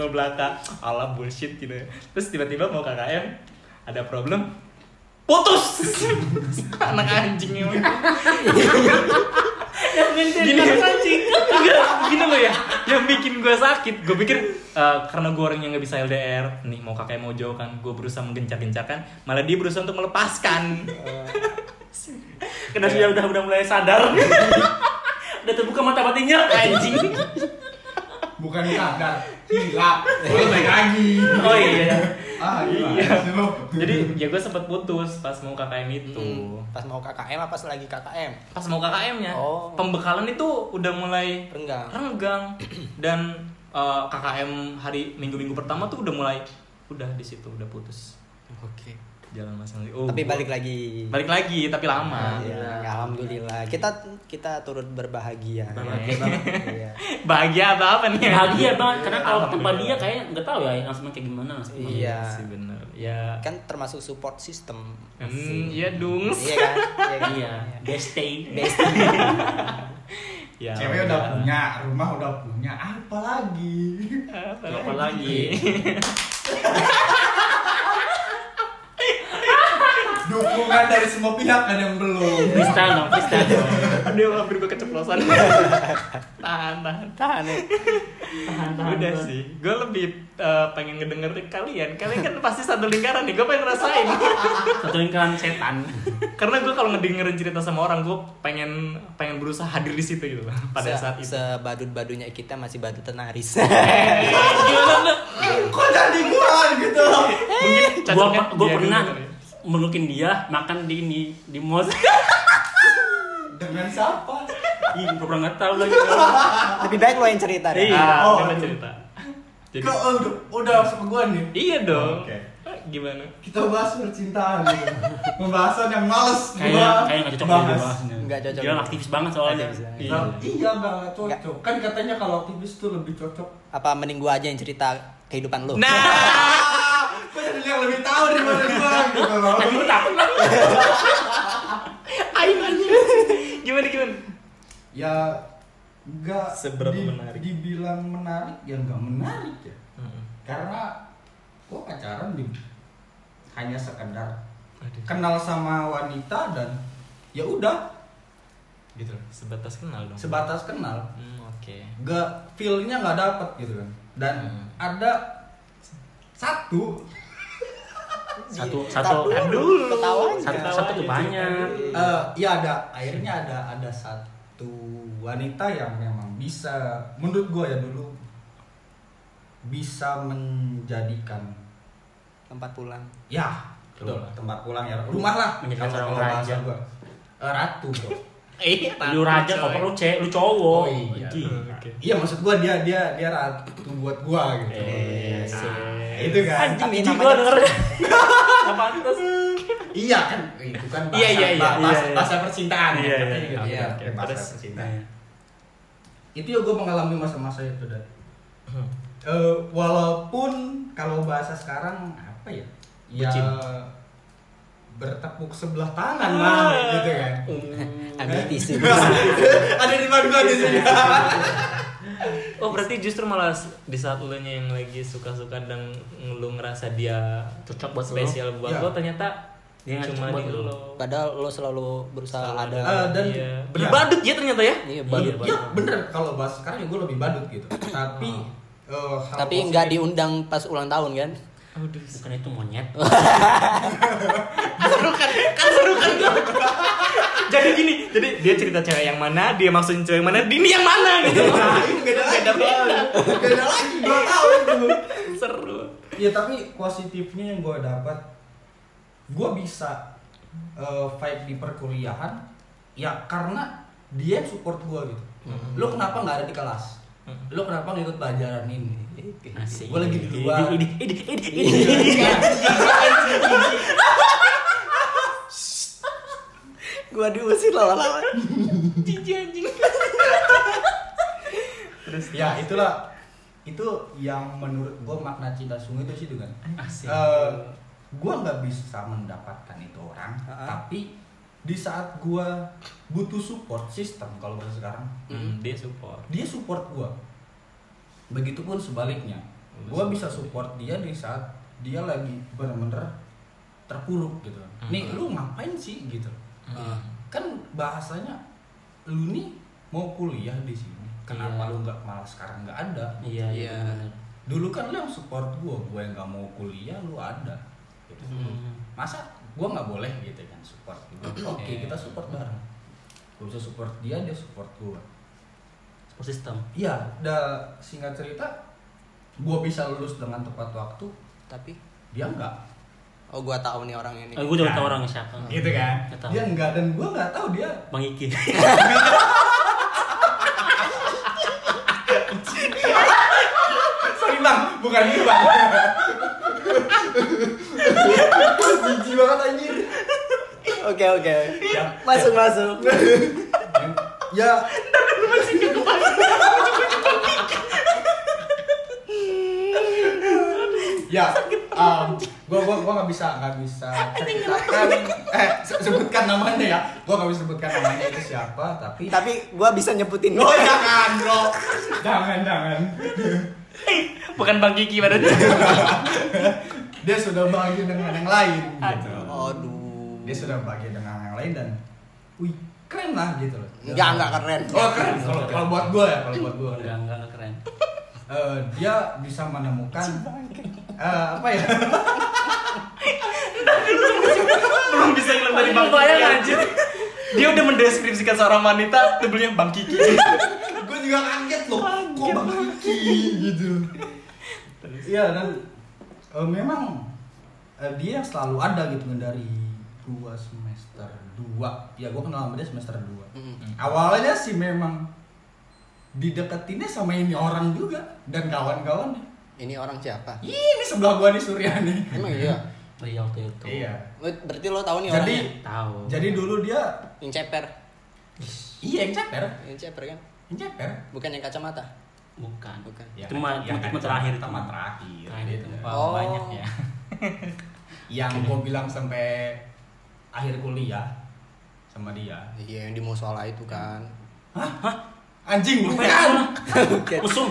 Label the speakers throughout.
Speaker 1: kan, belaka ala bullshit gitu ya. terus tiba-tiba mau KKM ada problem putus anak anjing emang gini anjing enggak gini loh ya yang bikin gue sakit gue pikir eh, karena gue orang yang nggak bisa LDR nih mau kakek mau jauh kan gue berusaha menggencar-gencarkan malah dia berusaha untuk melepaskan
Speaker 2: Karena sudah udah udah mulai sadar. udah terbuka mata batinnya anjing.
Speaker 3: Bukan sadar, hilap. Boleh baik lagi.
Speaker 2: Oh iya.
Speaker 3: Ah, gimana
Speaker 1: Iya.
Speaker 3: sih lu?
Speaker 1: jadi ya gue sempet putus pas mau KKM itu
Speaker 4: Hmm. Pas mau KKM apa pas lagi KKM?
Speaker 1: pas mau KKM-nya
Speaker 4: Oh.
Speaker 1: ya, pembekalan itu udah mulai
Speaker 4: Renggang.
Speaker 1: renggang dan eh, KKM hari minggu-minggu pertama tuh udah mulai udah di situ udah putus
Speaker 4: Oke.
Speaker 1: jalan masing oh,
Speaker 4: Tapi
Speaker 1: gua-
Speaker 4: balik lagi.
Speaker 1: balik lagi tapi lama
Speaker 4: Ya, alhamdulillah. Kita kita turut berbahagia.
Speaker 1: Berbahagia
Speaker 4: Iya.
Speaker 1: bahagia apa apa nih
Speaker 2: Bahagia banget karena kalau tanpa dia kayaknya nggak tahu ya langsung kayak gimana.
Speaker 4: Iya.
Speaker 1: sih bener ya
Speaker 4: Kan termasuk support system.
Speaker 1: hmm, ya dungs
Speaker 4: Iya kan? Iya. kan? Iya.
Speaker 2: Iya. Best day.
Speaker 1: ya
Speaker 3: Cewek udah punya, rumah udah punya, apa lagi?
Speaker 1: apa lagi
Speaker 2: Iya.
Speaker 3: Dukungan dari semua pihak kan yang belum.
Speaker 2: Freestyle dong, freestyle dong.
Speaker 1: aduh hampir gue keceplosan tahan tahan tahan
Speaker 2: Tahan, tahan,
Speaker 1: udah
Speaker 2: tahan.
Speaker 1: sih gue lebih eh, pengen ngedengerin kalian kalian kan pasti satu lingkaran nih gue pengen ngerasain
Speaker 2: Satu lingkaran setan.
Speaker 1: karena gue kalau ngedengerin cerita sama orang gue pengen pengen berusaha hadir di situ gitu loh pada
Speaker 4: Se-
Speaker 1: saat itu
Speaker 4: Sebadut-badunya kita masih badutan Aris.
Speaker 3: Eh, Kok jadi gua gitu?
Speaker 1: mungkin
Speaker 2: Gua
Speaker 1: cocoknya
Speaker 2: gua
Speaker 1: dia dulu
Speaker 2: pernah
Speaker 1: kali ya.
Speaker 2: melukin dia makan di ini di mos.
Speaker 3: Dengan siapa?
Speaker 2: Ih, gua pernah nggak tahu lagi.
Speaker 4: Lebih baik lo yang cerita deh.
Speaker 1: iya
Speaker 3: Oh,
Speaker 1: coba
Speaker 3: aduh.
Speaker 1: cerita jadi
Speaker 3: Kok oh, udah, udah sama gua nih?
Speaker 1: iya dong
Speaker 3: Oke.
Speaker 1: Eh, gimana
Speaker 3: Kita bahas percintaan gitu. Pembahasan yang males
Speaker 2: Kayak kayak nggak cocok dia
Speaker 3: bahas.
Speaker 2: bahasnya.
Speaker 4: Nggak cocok.
Speaker 2: Dia aktivis banget soalnya.
Speaker 4: Aktivis banget.
Speaker 3: Nah, iya nggak cocok. Kan katanya kalau aktivis tuh lebih cocok.
Speaker 4: Apa mending gua aja yang cerita kehidupan lo? Iya.
Speaker 1: nah
Speaker 3: Ah, Kok jadi yang lebih tahu daripada gua gitu loh.
Speaker 2: Lu takut lah.
Speaker 1: ayo aja gimana gimana
Speaker 3: Ya nggak
Speaker 1: Seberapa
Speaker 3: di-
Speaker 1: menarik?
Speaker 3: Dibilang menarik ya nggak menarik ya. Karena gua pacaran di hanya sekedar
Speaker 1: Aduh.
Speaker 3: kenal sama wanita dan ya udah
Speaker 1: gitu loh, sebatas kenal dong
Speaker 3: sebatas kenal
Speaker 1: Hmm, oke
Speaker 3: nggak feelnya nggak dapet gitu kan dan
Speaker 1: Hmm.
Speaker 3: ada satu
Speaker 2: Satu
Speaker 4: Iya.
Speaker 2: satu
Speaker 4: Tahan
Speaker 2: aduh.
Speaker 4: dulu. Ketawanya.
Speaker 2: Satu
Speaker 1: Ketawa
Speaker 2: satu
Speaker 1: aja,
Speaker 2: tuh banyak.
Speaker 1: Iya.
Speaker 3: eh ya ada akhirnya ada ada satu wanita yang memang bisa menurut gua ya dulu bisa menjadikan
Speaker 4: Tempat pulang.
Speaker 3: ya betul,
Speaker 1: Rumah.
Speaker 3: tempat pulang ya rumah lah
Speaker 1: kan
Speaker 2: Menjadikan
Speaker 3: kalau-
Speaker 2: seorang
Speaker 3: kalau bahasa
Speaker 2: raja.
Speaker 3: gua. Eh, ratu bro
Speaker 1: eh
Speaker 2: Lu raja kok lu cewek, lu
Speaker 3: Oh,
Speaker 2: cowok.
Speaker 3: iya.
Speaker 2: Anjing.
Speaker 1: oke
Speaker 3: iya maksud gua dia dia dia ratu buat gua gitu
Speaker 2: Eh, sih.
Speaker 3: Nah, itu kan
Speaker 2: Anjing
Speaker 4: Tapi
Speaker 2: biji
Speaker 4: namanya-
Speaker 2: gua denger. Gak pantas.
Speaker 3: Iya kan, itu kan bahasa,
Speaker 1: Iya, iya, iya,
Speaker 3: bah- bahasa,
Speaker 1: iya, iya.
Speaker 3: bahasa percintaan
Speaker 1: Iya,
Speaker 3: ya,
Speaker 1: iya,
Speaker 3: katanya gitu.
Speaker 1: oke,
Speaker 3: Iya,
Speaker 1: oke.
Speaker 3: bahasa
Speaker 1: Terus, Iya.
Speaker 3: percintaan. Itu ya gue mengalami masa-masa itu dan
Speaker 1: Hmm.
Speaker 3: Eh, walaupun kalau bahasa sekarang apa ya, ya
Speaker 1: Bucin. Ah.
Speaker 3: bertepuk sebelah tangan lah, gitu kan.
Speaker 4: Ambil tisu.
Speaker 3: ada di mana gua di sini.
Speaker 1: Oh berarti justru malah s- di saat lo yang lagi suka-suka dan lu ngerasa dia
Speaker 2: Cocok buat lu.
Speaker 1: spesial buat
Speaker 3: Iya.
Speaker 1: lo ternyata
Speaker 2: Dia nggak
Speaker 1: cuma
Speaker 2: cocok
Speaker 1: di
Speaker 2: buat
Speaker 1: lo.
Speaker 2: lu.
Speaker 4: Padahal lo selalu berusaha
Speaker 1: Selalu
Speaker 4: ada.
Speaker 3: Eh, dan
Speaker 1: Iya.
Speaker 3: benar.
Speaker 1: Badut ya ternyata ya?
Speaker 4: Ah. Iya,
Speaker 3: Iya,
Speaker 4: badut.
Speaker 3: iya, bener kalau bahasa sekarang ya gue lebih badut gitu. Tapi eh, hal
Speaker 4: Tapi
Speaker 3: positif-
Speaker 4: nggak diundang pas ulang tahun kan?
Speaker 1: Aduh.
Speaker 2: Bukan itu monyet.
Speaker 1: seru kan? Kan seru kan gua? jadi gini, jadi dia cerita cewek yang mana, dia maksudin cewek yang mana, Dini yang mana gitu.
Speaker 3: Nah, itu beda lagi. Beda lagi dua tahun tuh.
Speaker 1: seru.
Speaker 3: Iya tapi positifnya yang gue dapat, gue bisa eh, fight di perkuliahan, ya karena dia yang support gue gitu. Lo kenapa nggak ada di kelas? Lo kenapa ngikut pelajaran ini?
Speaker 2: Asik.
Speaker 3: Gue lagi di luar.
Speaker 2: Ini ini ini ini.
Speaker 4: Gua diusir lama-lama.
Speaker 1: Cici anjing. Terus
Speaker 3: Ya itulah itu yang menurut gue makna cinta sungguh itu sih dengan
Speaker 2: Asik.
Speaker 3: gue nggak bisa mendapatkan itu orang,
Speaker 4: Ha-ha.
Speaker 3: tapi di saat gue butuh support sistem kalau
Speaker 1: Mm-hmm.
Speaker 3: bahasa sekarang
Speaker 1: Hmm, dia support.
Speaker 3: dia support gua begitupun sebaliknya gue bisa support dia di saat dia lagi bener-bener terpuruk gitu
Speaker 2: Hmm.
Speaker 3: nih lu ngapain sih gitu kan bahasanya lu nih mau kuliah di sini kenapa
Speaker 2: Iya.
Speaker 3: lu nggak malah sekarang nggak ada
Speaker 2: Iya, iya.
Speaker 4: Iya.
Speaker 2: benar.
Speaker 3: dulu kan lu yang support gue gue yang nggak mau kuliah lu ada gitu.
Speaker 2: Hmm.
Speaker 3: masa gue nggak boleh gitu kan support gitu. oke kita support bareng gue bisa support dia dia support gue
Speaker 2: Support system.
Speaker 3: Iya, da singkat cerita, gua bisa lulus dengan tepat waktu,
Speaker 4: Tapi
Speaker 3: dia enggak.
Speaker 4: oh gua tahu nih orang ini.
Speaker 2: Eh, gue udah tau orangnya siapa.
Speaker 3: Iya. Gitu kan?
Speaker 2: Nggak tahu.
Speaker 3: Dia enggak dan gua nggak tahu dia.
Speaker 2: Bang Iki.
Speaker 3: Sorry bang, bukan dia bang. Jijik banget anjir.
Speaker 4: Oke oke.
Speaker 3: Ya,
Speaker 4: Masuk masuk.
Speaker 3: ya. Ya, um, gua gua gua nggak bisa nggak bisa ceritakan eh se- sebutkan namanya ya. Gua nggak bisa sebutkan namanya itu siapa, tapi
Speaker 4: Tapi gua bisa nyebutin.
Speaker 3: Oh jangan bro Jangan jangan
Speaker 1: Bukan Bang Kiki pada
Speaker 3: Dia sudah bahagia dengan yang lain gitu
Speaker 4: Aduh.
Speaker 3: Dia sudah bahagia dengan yang lain dan Wih keren lah gitu loh
Speaker 4: Enggak enggak Iya. keren.
Speaker 3: Oh keren kalau kalau buat gue ya kalau buat gue
Speaker 2: Enggak, enggak, enggak keren.
Speaker 3: Eh, Dia bisa menemukan eh, Apa ya
Speaker 1: belum bisa hilang dari Bang Kiki
Speaker 2: Bayang, anjir.
Speaker 1: Dia udah mendeskripsikan seorang wanita tebelnya Bang Kiki.
Speaker 3: Gue juga kaget loh Kok Bang Kiki gitu Iya dan eh, Memang eh, Dia selalu ada gitu dari dua semester dua ya gue kenal sama dia semester dua
Speaker 4: Mm.
Speaker 3: awalnya sih memang dideketinnya sama ini orang juga dan kawan-kawannya
Speaker 4: Ini orang siapa?
Speaker 3: Ih, ini sebelah gua nih Surya nih
Speaker 4: Emang iya.
Speaker 2: Iya, waktu itu.
Speaker 3: iya
Speaker 4: Lu- Berarti lo tahu
Speaker 3: jadi
Speaker 4: nih orangnya.
Speaker 2: Tahu.
Speaker 3: jadi dulu dia
Speaker 4: Yang ceper.
Speaker 3: iya yang ceper
Speaker 4: Yang ceper kan?
Speaker 3: yang ceper
Speaker 4: Bukan yang kacamata.
Speaker 2: bukan.
Speaker 4: Bukan.
Speaker 3: Ya,
Speaker 2: Cuma
Speaker 3: ya,
Speaker 2: cuma
Speaker 3: kan,
Speaker 2: cuma terakhir itu.
Speaker 3: cuma terakhir,
Speaker 2: Terakhir
Speaker 3: gitu.
Speaker 2: itu. Pak.
Speaker 4: Oh.
Speaker 2: Banyak ya.
Speaker 3: yang gua bilang sampai akhir kuliah sama dia
Speaker 4: Iya yang di musola itu kan.
Speaker 3: anjing bukan
Speaker 4: Bukan.
Speaker 2: Usum.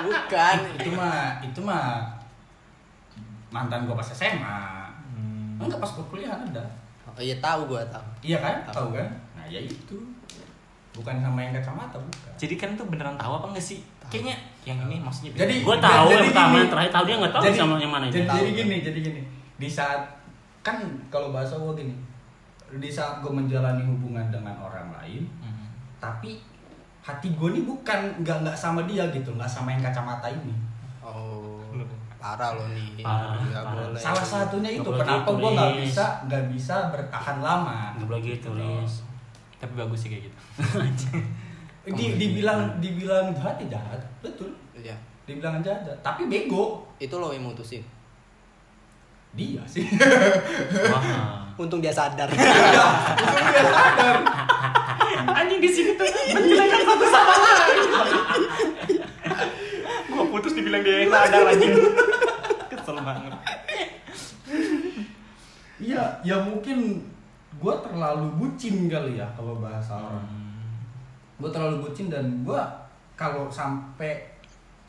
Speaker 4: Bukan.
Speaker 3: itu mah itu mah mantan gua pas SMA enggak pas gua kuliah ada
Speaker 4: Oh iya tahu gua tahu.
Speaker 3: Iya kan? Tahu kan? Nah, ya itu. Bukan sama yang kacamata, bukan.
Speaker 1: Jadi kan tuh beneran tahu apa enggak sih? Kayaknya yang ini maksudnya beda.
Speaker 3: Jadi
Speaker 2: Gue tahu
Speaker 3: jadi
Speaker 2: yang pertama,
Speaker 3: gini.
Speaker 2: yang terakhir tahu dia nggak tahu sama yang mana
Speaker 3: Jadi,
Speaker 2: itu.
Speaker 3: jadi
Speaker 4: Tahu.
Speaker 3: gini, jadi gini. Di saat kan kalau bahasa gua gini, di saat gue menjalani hubungan dengan orang lain,
Speaker 1: Hmm.
Speaker 3: tapi hati gue nih bukan nggak nggak sama dia gitu, nggak sama yang kacamata ini.
Speaker 4: Oh. Parah lo nih.
Speaker 2: Parah,
Speaker 4: Nggak
Speaker 2: parah.
Speaker 4: boleh.
Speaker 3: Salah satunya itu
Speaker 2: Nggak boleh
Speaker 3: kenapa
Speaker 2: gitu,
Speaker 3: gue nggak
Speaker 2: Riz.
Speaker 3: bisa nggak bisa bertahan lama.
Speaker 2: Nggak boleh gitu, Riz.
Speaker 1: Tapi bagus sih kayak gitu.
Speaker 2: Oh, iya.
Speaker 3: Di, dibilang dibilang jahat ya jahat, betul.
Speaker 4: Iya.
Speaker 3: Dibilang jahat, jahat. tapi bego
Speaker 4: Itu lo yang mutusin.
Speaker 3: dia sih.
Speaker 2: Wah.
Speaker 4: Untung dia sadar.
Speaker 1: Anjing di sini tuh menjelekan satu sama lain. Gua putus dibilang dia yang sadar anjing. Kesel banget.
Speaker 3: Iya, ya mungkin gue terlalu bucin kali ya kalau bahasa orang. Gue terlalu bucin dan gue kalau sampai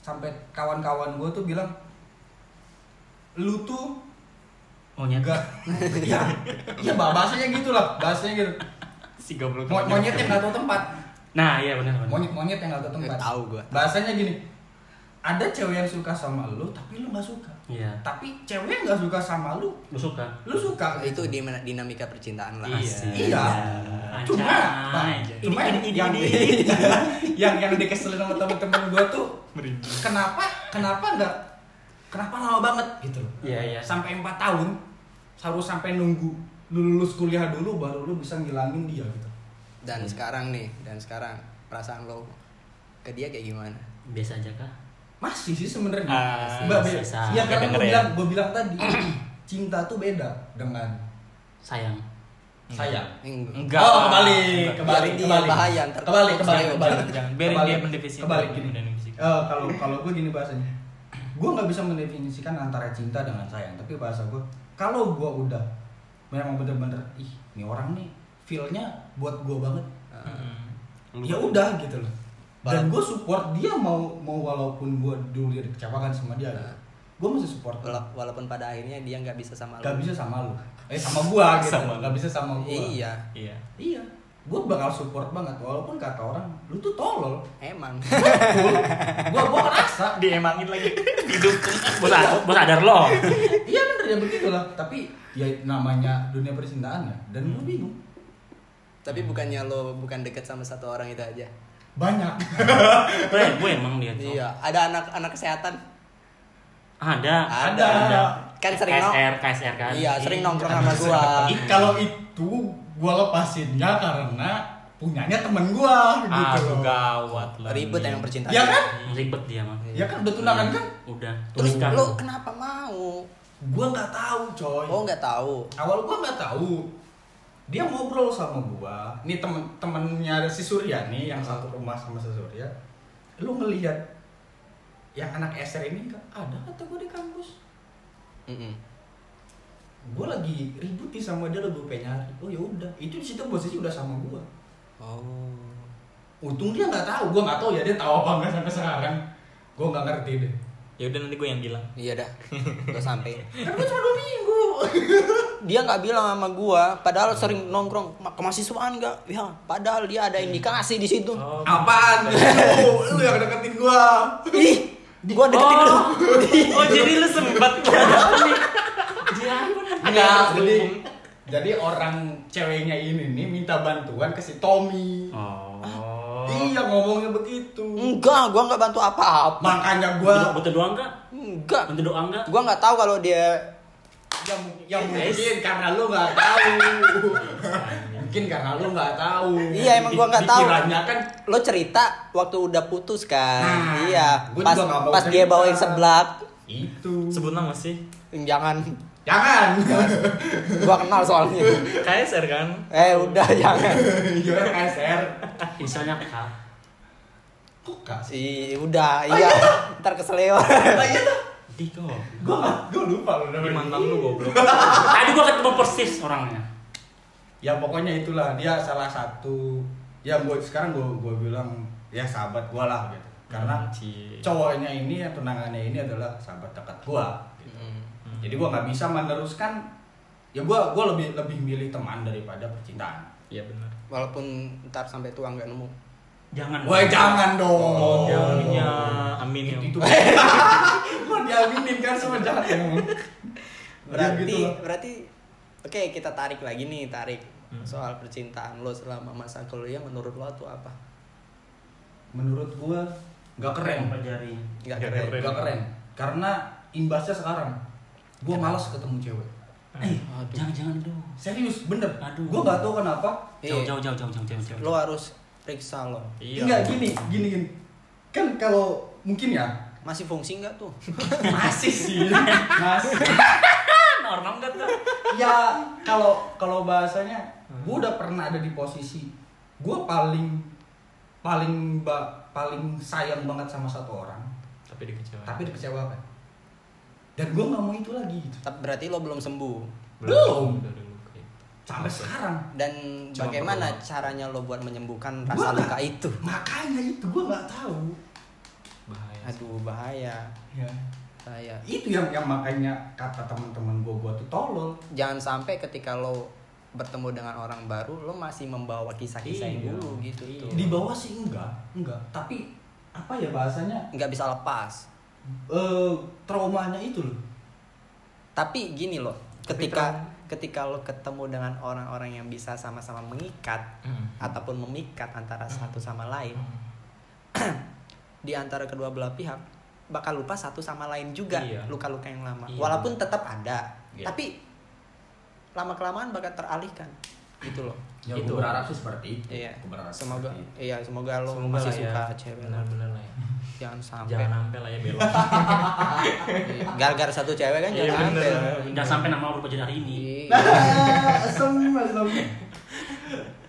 Speaker 3: sampai kawan-kawan gue tuh bilang lu tuh
Speaker 2: Monyet.
Speaker 3: enggak ya ya bah- bahasanya gitu lah bahasanya gitu
Speaker 1: Si goblok.
Speaker 3: Mo- monyet yang nggak tahu tempat
Speaker 2: Nah, iya benar benar.
Speaker 3: monyet monyet yang nggak tahu tempat
Speaker 4: Tahu gua.
Speaker 3: bahasanya gini ada cewek yang suka sama lu tapi lu nggak suka
Speaker 2: Iya.
Speaker 3: tapi cewek yang nggak suka sama lu
Speaker 2: Lu suka?
Speaker 3: lu suka
Speaker 4: Itu di mana- dinamika percintaan lah.
Speaker 3: Iya. Cuma, Bang,
Speaker 2: Anjay.
Speaker 3: cuma yang,
Speaker 1: ini,
Speaker 3: yang, yang yang dikeselin sama temen-temen gue tuh
Speaker 1: merinding.
Speaker 3: kenapa kenapa nggak kenapa lama banget gitu loh.
Speaker 2: Iya, iya.
Speaker 3: Sampai empat tahun harus sampai nunggu lu lulus kuliah dulu baru lu bisa ngilangin dia gitu.
Speaker 4: Dan sekarang nih, dan sekarang perasaan lo ke dia kayak gimana?
Speaker 2: Biasa aja kah?
Speaker 3: Masih sih sebenarnya.
Speaker 1: Ah,
Speaker 3: Mbak,
Speaker 2: masih
Speaker 3: Be-
Speaker 2: sama.
Speaker 3: ya karena gue
Speaker 1: Kedengeran.
Speaker 3: bilang gue bilang tadi cinta tuh beda dengan
Speaker 2: Sayang.
Speaker 1: Iya.
Speaker 3: sayang.
Speaker 4: Enggak.
Speaker 1: Enggak. Iya,
Speaker 3: Oh, kebalik, kebalik,
Speaker 4: Biarin dia
Speaker 3: kebalik.
Speaker 4: bahaya, ntar
Speaker 3: Kebalik, kebalik,
Speaker 4: serius.
Speaker 3: kebalik.
Speaker 1: Jangan, biarin
Speaker 3: Kebalik,
Speaker 1: dia mendefinisikan.
Speaker 3: Kebalik gini.
Speaker 1: Mendefinisikan.
Speaker 3: Eh, kalau kalau gue gini bahasanya. Gue nggak bisa mendefinisikan antara cinta dengan sayang, tapi bahasa gue kalau gue udah memang bener-bener ih,
Speaker 4: Eh,
Speaker 3: ini orang nih feel-nya buat gue banget.
Speaker 1: Hmm.
Speaker 3: Ya udah gitu loh. dan gue support dia mau mau walaupun gue dulu dia dikecewakan sama dia gitu. gue masih support
Speaker 4: Wala- walaupun pada akhirnya dia nggak bisa sama
Speaker 3: gak
Speaker 4: lu
Speaker 3: bisa sama lu eh sama gua gitu
Speaker 1: Sama lu.
Speaker 3: gak bisa sama gua
Speaker 4: iya
Speaker 1: Iya.
Speaker 3: iya gua bakal support banget walaupun kata orang lu tuh tolol
Speaker 4: emang
Speaker 3: Betul. gua gua ngerasa
Speaker 1: Diemangin lagi hidup.
Speaker 2: Bos, Ad- bos sadar lo.
Speaker 3: iya bener ya begitulah tapi ya namanya dunia percintaan ya dan gua bingung
Speaker 4: tapi bukannya lo bukan deket sama satu orang itu aja
Speaker 3: banyak
Speaker 2: Bre, gue emang dia tuh.
Speaker 4: iya ada anak anak kesehatan
Speaker 2: Ada.
Speaker 3: Ada.
Speaker 4: kan sering
Speaker 2: KSR,
Speaker 4: nong-
Speaker 2: KSR kan.
Speaker 4: iya sering nongkrong sama gua
Speaker 3: I- kalau itu gua lepasinnya karena punyanya temen gua
Speaker 1: Ah,
Speaker 3: gitu loh
Speaker 1: gawat lah.
Speaker 4: ribet
Speaker 1: nih.
Speaker 4: emang percintaan
Speaker 3: ya kan
Speaker 2: Iya. Ribet dia mah.
Speaker 3: ya kan udah tunangan kan
Speaker 2: Udah.
Speaker 4: terus
Speaker 2: Tuliskan.
Speaker 4: lo kenapa mau
Speaker 1: Hmm.
Speaker 3: gua nggak tahu coy
Speaker 4: oh nggak tahu
Speaker 3: awal gua nggak tahu dia ngobrol sama gua nih temen temennya si Surya nih yang satu rumah sama si Surya lu ngelihat yang anak SR ini nggak ada atau gua di kampus
Speaker 4: Mm-mm.
Speaker 3: gua lagi ribut nih sama dia lebih pengen nyari oh ya udah itu di situ posisi udah sama gua
Speaker 4: oh
Speaker 3: untung dia nggak tahu gua nggak tahu ya dia tahu apa nggak sampai sekarang gua nggak ngerti deh
Speaker 1: Ya udah nanti gue yang bilang.
Speaker 4: iya dah udah sampai
Speaker 3: kan gua cuma dua minggu
Speaker 4: dia nggak bilang sama gua padahal sering nongkrong "Ma- ke mahasiswaan nggak ya padahal dia ada indikasi di situ
Speaker 1: Oh.
Speaker 3: apaan lu lu yang deketin gua
Speaker 4: ih gua deketin lu
Speaker 1: Oh, oh jadi lu sempat
Speaker 3: Enggak, jadi jadi orang ceweknya ini nih minta bantuan ke si Tommy.
Speaker 2: Oh.
Speaker 3: Iya ngomongnya begitu.
Speaker 4: enggak gua nggak bantu apa-apa
Speaker 3: Makanya
Speaker 2: Butuh,
Speaker 3: gua
Speaker 2: butuh doa enggak?
Speaker 4: enggak
Speaker 2: Butuh doa enggak?
Speaker 4: gua nggak tahu kalau dia
Speaker 3: yang, yang ya mungkin karena lu nggak tahu. mungkin karena lu nggak tahu.
Speaker 4: Iya, emang gua nggak tahu.
Speaker 3: Pikirannya kan
Speaker 4: lo cerita waktu udah putus kan
Speaker 3: Nah,
Speaker 4: iya
Speaker 3: gua
Speaker 4: pas
Speaker 3: juga nggak mau
Speaker 4: pas dia
Speaker 3: cerita.
Speaker 4: bawain seblak
Speaker 3: itu.
Speaker 1: sebut nama sih.
Speaker 4: jangan
Speaker 3: Jangan.
Speaker 4: gua kenal soalnya
Speaker 1: KSR kan.
Speaker 4: eh udah jangan
Speaker 3: Iya SR.
Speaker 2: Inisialnya Ah, K.
Speaker 3: Kok gak sih?
Speaker 4: Ih, udah
Speaker 3: Oh,
Speaker 4: iya ntar keseleo
Speaker 3: Lah iya tuh.
Speaker 1: Di kok.
Speaker 3: Gua nggak- gua lupa lu
Speaker 1: Di
Speaker 3: namanya.
Speaker 1: mantan lu goblok.
Speaker 2: Tadi gua ketemu persis orangnya.
Speaker 3: ya pokoknya itulah dia salah satu ya gue sekarang gue gue bilang ya sahabat gue lah gitu karena
Speaker 1: Ci.
Speaker 3: cowoknya ini yang tunangannya ini adalah sahabat dekat gue gitu.
Speaker 4: Hmm,
Speaker 3: jadi gue nggak bisa meneruskan ya gue gue lebih lebih milih teman daripada percintaan
Speaker 1: Iya benar.
Speaker 4: walaupun ntar sampai tua nggak nemu
Speaker 2: Jangan.
Speaker 3: gue jangan dong
Speaker 1: Oh, jalannya amin ya.
Speaker 3: itu itu gue diaminin kan sama jahat emang. Ya,
Speaker 4: berarti
Speaker 3: gitu lah.
Speaker 4: berarti oke kita tarik lagi nih tarik
Speaker 1: Hmm.
Speaker 4: soal percintaan lo selama masa kuliah menurut lo tuh apa
Speaker 3: menurut gue nggak keren
Speaker 2: Pelajari.
Speaker 4: nggak
Speaker 1: Nggak
Speaker 4: keren
Speaker 1: keren.
Speaker 3: nggak keren karena imbasnya sekarang gue malas ketemu cewek
Speaker 2: Eh, jangan jangan dulu.
Speaker 3: Serius, bener.
Speaker 2: Aduh.
Speaker 3: Gue gak tau kenapa.
Speaker 4: Iya.
Speaker 2: Jauh jauh jauh jauh jauh jauh. jauh.
Speaker 4: lo harus periksa lo
Speaker 1: Iya.
Speaker 3: Enggak gini, gini, gini. Kan kalau mungkin ya
Speaker 4: masih fungsi nggak tuh
Speaker 3: masih sih, masih.
Speaker 2: kan orang enggak tuh.
Speaker 3: Ya kalau kalau bahasanya, gue udah pernah ada di posisi gue paling paling ba- paling sayang banget sama satu orang,
Speaker 1: Tapi dikecewain.
Speaker 3: tapi dikecewakan. Dan gue nggak mau itu lagi gitu.
Speaker 4: Tapi berarti lo belum sembuh
Speaker 3: Belum.
Speaker 1: Udah dulu kayak gitu.
Speaker 3: Sampai sekarang.
Speaker 4: dan
Speaker 1: Cuma
Speaker 4: bagaimana
Speaker 1: berdoa.
Speaker 4: caranya lo buat menyembuhkan
Speaker 3: Gua
Speaker 4: rasa
Speaker 3: nggak-
Speaker 4: luka itu
Speaker 3: Makanya itu gue nggak tahu.
Speaker 1: Bahaya. sih.
Speaker 4: aduh bahaya
Speaker 3: Ya.
Speaker 4: bahaya
Speaker 3: Itu yang yang makanya kata teman-teman gue gue tuh tolol.
Speaker 4: jangan sampai ketika lo bertemu dengan orang baru lo masih membawa kisah-kisah yang
Speaker 1: Iya.
Speaker 4: dulu gitu
Speaker 1: Iya.
Speaker 4: tuh.
Speaker 3: di bawah sih enggak enggak tapi apa ya bahasanya
Speaker 4: nggak bisa lepas
Speaker 3: eh traumanya itu loh
Speaker 4: tapi gini loh ketika ketika lo ketemu dengan orang-orang yang bisa sama-sama mengikat
Speaker 1: Hmm.
Speaker 4: ataupun memikat antara satu sama lain
Speaker 1: Hmm.
Speaker 4: di antara kedua belah pihak bakal lupa satu sama lain juga
Speaker 1: Iya.
Speaker 4: luka-luka yang lama
Speaker 1: Iya.
Speaker 4: walaupun tetap ada
Speaker 1: Iya.
Speaker 4: tapi lama kelamaan bakal teralihkan gitu loh
Speaker 1: Ya, gua berharap
Speaker 3: sih seperti itu
Speaker 4: iya semoga iya semoga lo
Speaker 1: Semoga lah
Speaker 4: masih
Speaker 1: ya.
Speaker 4: suka cewek lo.
Speaker 1: Benar-benar lah ya.
Speaker 4: jangan sampai
Speaker 1: Jangan sampai lah ya belok.
Speaker 4: Iya. gara-gara satu cewek kan
Speaker 1: Iya,
Speaker 4: jangan sampai
Speaker 1: bener.
Speaker 2: Jangan sampai nama berubah jadi hari ini.
Speaker 4: Iya.
Speaker 3: asem asem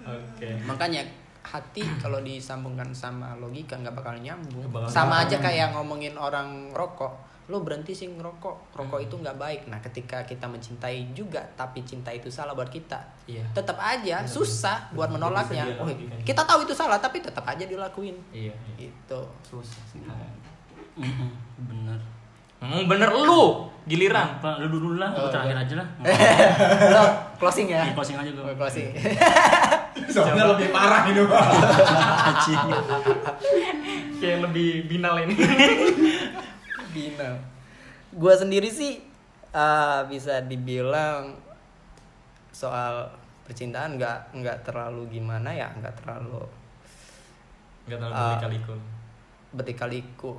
Speaker 1: Oke.
Speaker 4: makanya hati kalau disambungkan sama logika nggak bakal nyambung
Speaker 1: Nggak bakal
Speaker 4: sama
Speaker 1: nyambung.
Speaker 4: aja kayak ngomongin orang rokok lo berhenti sih ngerokok rokok itu nggak baik nah ketika kita mencintai juga tapi cinta itu salah buat kita
Speaker 1: Iya.
Speaker 4: tetap aja susah buat
Speaker 1: Tetap
Speaker 4: menolaknya
Speaker 1: bisa dia
Speaker 4: Oh,
Speaker 1: lakukan.
Speaker 4: kita tahu itu salah tapi tetap aja dilakuin
Speaker 1: Iya. iya.
Speaker 4: gitu
Speaker 1: Susah sih.
Speaker 2: Mm-mm, bener
Speaker 1: Ngomong bener lu, giliran.
Speaker 2: Pak, lu dulu lah,
Speaker 4: Oh,
Speaker 2: lu terakhir aja lah.
Speaker 4: Lo closing ya
Speaker 1: Iya.
Speaker 2: Di closing aja gue.
Speaker 4: Lo closing
Speaker 3: Soalnya lebih parah ini pak.
Speaker 1: Kayak lebih binal ini.
Speaker 4: Bina. Gua sendiri sih eh, bisa dibilang soal percintaan nggak nggak terlalu gimana ya, nggak terlalu
Speaker 1: Gak terlalu
Speaker 4: Ah.
Speaker 1: kali-kali
Speaker 4: bertikaliku.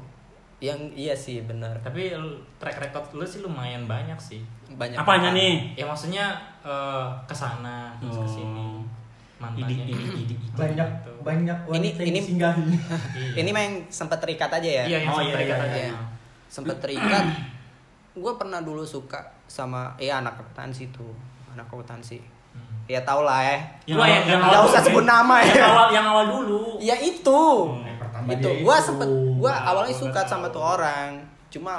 Speaker 4: Yang iya sih benar.
Speaker 1: Tapi lu- track record lu sih lumayan banyak sih.
Speaker 4: Banyak.
Speaker 2: Apanya nih?
Speaker 1: Ya maksudnya eh, kesana terus
Speaker 2: Oh.
Speaker 1: kesini mantannya
Speaker 2: Idik, idik, idik,
Speaker 1: itu,
Speaker 3: Banyak
Speaker 1: gitu.
Speaker 3: banyak
Speaker 4: Ini-
Speaker 3: wanita yang
Speaker 4: ini-
Speaker 3: disinggahi.
Speaker 1: Iya.
Speaker 4: Ini mah yang sempat terikat aja ya.
Speaker 1: Iya, yang
Speaker 2: Oh,
Speaker 1: oh,
Speaker 2: iya,
Speaker 1: iya,
Speaker 2: iya,
Speaker 4: Iya. Sempat terikat. Gua pernah dulu suka sama ya anak akuntansi tuh, anak akuntansi. Ya tau lah ya.
Speaker 1: Lu yang-
Speaker 2: Iya,
Speaker 1: yang
Speaker 4: nggak usah sebut nama ya.
Speaker 2: Yang awal yang awal dulu.
Speaker 4: Ya itu.
Speaker 3: Yang pertama
Speaker 4: gitu
Speaker 3: dia
Speaker 4: gue
Speaker 3: itu.
Speaker 4: sempet gue
Speaker 2: Nah,
Speaker 4: awalnya
Speaker 2: gua
Speaker 4: suka
Speaker 2: tahu.
Speaker 4: sama tuh orang cuma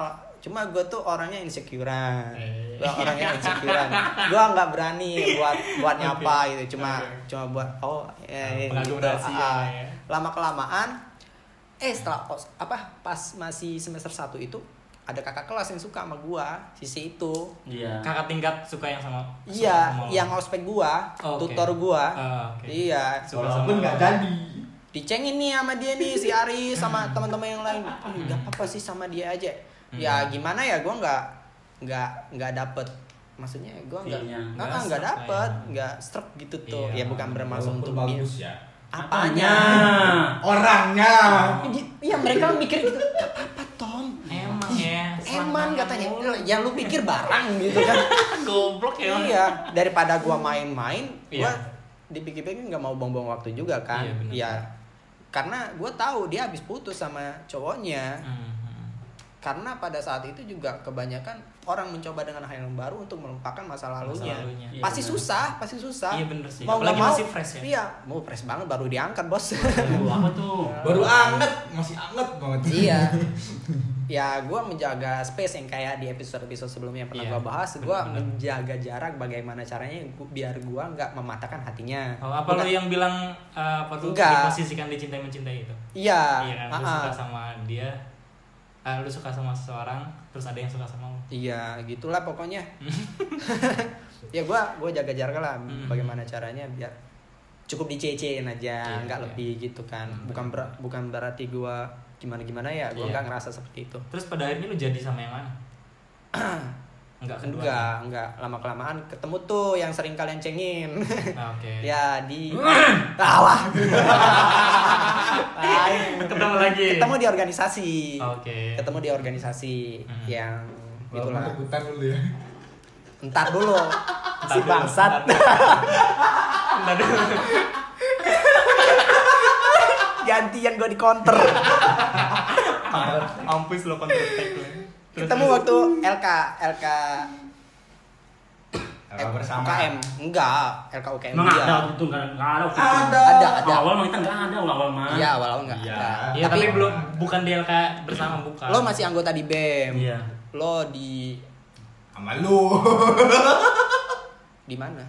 Speaker 4: cuma gue tuh orangnya insecurean
Speaker 1: Eh.
Speaker 4: gue orangnya insecurean gue nggak berani buat buat nyapa gitu cuma cuma buat oh eh,
Speaker 1: Nah,
Speaker 4: gitu.
Speaker 1: pengagum rahasia
Speaker 4: Ah, ah.
Speaker 1: ya.
Speaker 4: lama kelamaan eh setelah kos apa pas masih semester 1 itu ada kakak kelas yang suka sama gue sisi itu
Speaker 2: Iya.
Speaker 1: Kakak tingkat suka yang sama.
Speaker 4: iya
Speaker 1: sama-
Speaker 4: yang ospek gue
Speaker 1: Oh, oke.
Speaker 4: tutor gue
Speaker 1: Ah, oke.
Speaker 4: iya
Speaker 1: Suka sama-
Speaker 3: Walaupun nggak jadi.
Speaker 4: dicengin nih sama dia nih si Ari sama teman-teman yang lain "Ih, nggak apa-apa sih sama dia aja ya gimana ya gue nggak nggak nggak dapet maksudnya gue nggak
Speaker 2: Feel-nya.
Speaker 4: nggak
Speaker 1: Nggak
Speaker 4: nggak
Speaker 1: stuck lah
Speaker 4: dapet
Speaker 1: ya.
Speaker 4: nggak struck gitu tuh
Speaker 1: Iya.
Speaker 4: ya bukan bermaksud
Speaker 3: Walaupun
Speaker 4: untuk dia
Speaker 3: bagus ya.
Speaker 4: apanya
Speaker 3: Orangnya.
Speaker 4: ya mereka mikir gitu nggak apa-apa Tom
Speaker 1: Emang ya.
Speaker 4: Eman
Speaker 1: selama-
Speaker 4: katanya "Lu- ya lu pikir barang gitu kan
Speaker 1: Goblok ya.
Speaker 4: iya daripada gua main-main
Speaker 1: Iya.
Speaker 4: gua dipikir-pikir nggak mau buang-buang waktu juga kan
Speaker 1: Iya, benar.
Speaker 4: ya karena gua tahu dia habis putus sama cowoknya
Speaker 1: Hmm, hmm.
Speaker 4: karena pada saat itu juga kebanyakan orang mencoba dengan hal yang baru untuk melupakan masa lalunya,
Speaker 1: Masa lalunya.
Speaker 2: Iya,
Speaker 4: pasti
Speaker 2: benar.
Speaker 4: susah pasti susah
Speaker 1: Iya, bener sih.
Speaker 4: mau
Speaker 1: Apalagi
Speaker 4: nggak mau
Speaker 1: masih fresh ya.
Speaker 4: iya mau fresh banget baru diangkat bos
Speaker 2: Aduh, apa tuh?
Speaker 3: Baru anget, masih anget banget.
Speaker 4: iya ya gue menjaga space yang kayak di episode episode sebelumnya yang pernah
Speaker 1: Iya,
Speaker 4: gua bahas gue
Speaker 1: benar-benar.
Speaker 4: menjaga jarak bagaimana caranya gu- biar gua nggak mematahkan hatinya Iya.
Speaker 1: Oh, apa lu
Speaker 4: Bukan-
Speaker 1: yang bilang eh, apa tuh
Speaker 4: Enggak.
Speaker 1: diposisikan dicintai mencintai itu?
Speaker 4: iya
Speaker 1: Iya kan, lu
Speaker 4: ah-ah.
Speaker 1: suka sama dia, eh, lu suka sama seseorang, terus ada yang suka sama lu.
Speaker 4: Iya, gitulah pokoknya. ya gua gua jaga jarak lah
Speaker 1: Hmm.
Speaker 4: bagaimana caranya biar cukup dicecein aja,
Speaker 1: Iya,
Speaker 4: nggak
Speaker 1: iya.
Speaker 4: lebih gitu kan.
Speaker 1: Hmm,
Speaker 4: Bukan ber- bukan berarti gua gimana-gimana ya, gua
Speaker 1: Iya.
Speaker 4: nggak ngerasa seperti itu.
Speaker 1: Terus pada akhirnya lu jadi sama yang mana? Enggak kedua.
Speaker 4: Enggak, enggak lama-kelamaan ketemu tuh yang sering kalian cengin.
Speaker 1: Nah, Oke.
Speaker 4: ya di Alah. Lain.
Speaker 1: Ketemu lagi.
Speaker 4: Ketemu di organisasi.
Speaker 1: Oke.
Speaker 4: Ketemu di organisasi
Speaker 1: Hmm.
Speaker 4: yang
Speaker 3: Walaupun
Speaker 4: itulah.
Speaker 3: rebutan dulu ya.
Speaker 4: Entar dulu. si
Speaker 1: dulu,
Speaker 4: bangsat.
Speaker 1: Bentar dulu.
Speaker 4: gantian gue di counter
Speaker 1: Ampus lo counter attack lu.
Speaker 3: ya.
Speaker 1: Terus-
Speaker 4: ketemu waktu LK LK
Speaker 3: Kalau bersama.
Speaker 4: Eh, UKM enggak LK UKM
Speaker 2: Emang
Speaker 4: dia
Speaker 2: ada waktu itu enggak enggak ada. waktu itu.
Speaker 3: Ada.
Speaker 4: ada ada
Speaker 2: Awal mah kita enggak ada awal-awal mah.
Speaker 4: iya awal awal enggak
Speaker 3: Iya.
Speaker 4: ada
Speaker 1: Iya, tapi,
Speaker 4: tapi,
Speaker 1: belum bukan DLK bersama bukan.
Speaker 4: lo masih anggota di BEM
Speaker 2: Iya.
Speaker 4: lo di
Speaker 3: Sama lu.
Speaker 4: di mana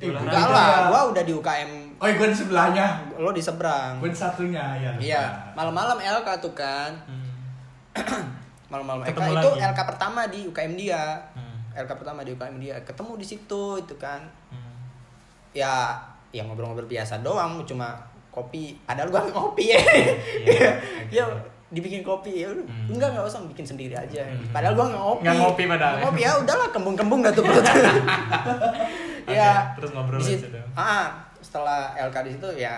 Speaker 3: Eh,
Speaker 2: Nah,
Speaker 1: Enggak
Speaker 4: enggak
Speaker 3: beda.
Speaker 4: lah gua udah di UKM
Speaker 3: Oh, gue di sebelahnya.
Speaker 4: lo di seberang
Speaker 3: Gue di satunya ya.
Speaker 4: iya malam-malam LK tuh kan
Speaker 1: Hmm.
Speaker 4: malam-malam LK
Speaker 1: Ketemu
Speaker 4: itu
Speaker 1: lagi.
Speaker 4: LK pertama di UKM dia
Speaker 1: Hmm.
Speaker 4: LK pertama di UKM dia ketemu di situ itu kan
Speaker 1: Hmm.
Speaker 4: ya ya ngobrol-ngobrol biasa doang cuma kopi ada lu gua ngopi ya
Speaker 1: Iya,
Speaker 4: ya dibikin kopi ya udah
Speaker 1: Hmm.
Speaker 4: enggak enggak usah bikin sendiri aja
Speaker 1: Hmm.
Speaker 4: padahal gua nggak ngopi
Speaker 1: Nggak ngopi padahal.
Speaker 4: Nggak ngopi ya udahlah kembung-kembung dah tuh perut
Speaker 1: Oke,
Speaker 4: ya
Speaker 1: terus ngobrol
Speaker 4: di
Speaker 1: di
Speaker 4: situ
Speaker 1: situ.
Speaker 4: ah setelah LK di situ ya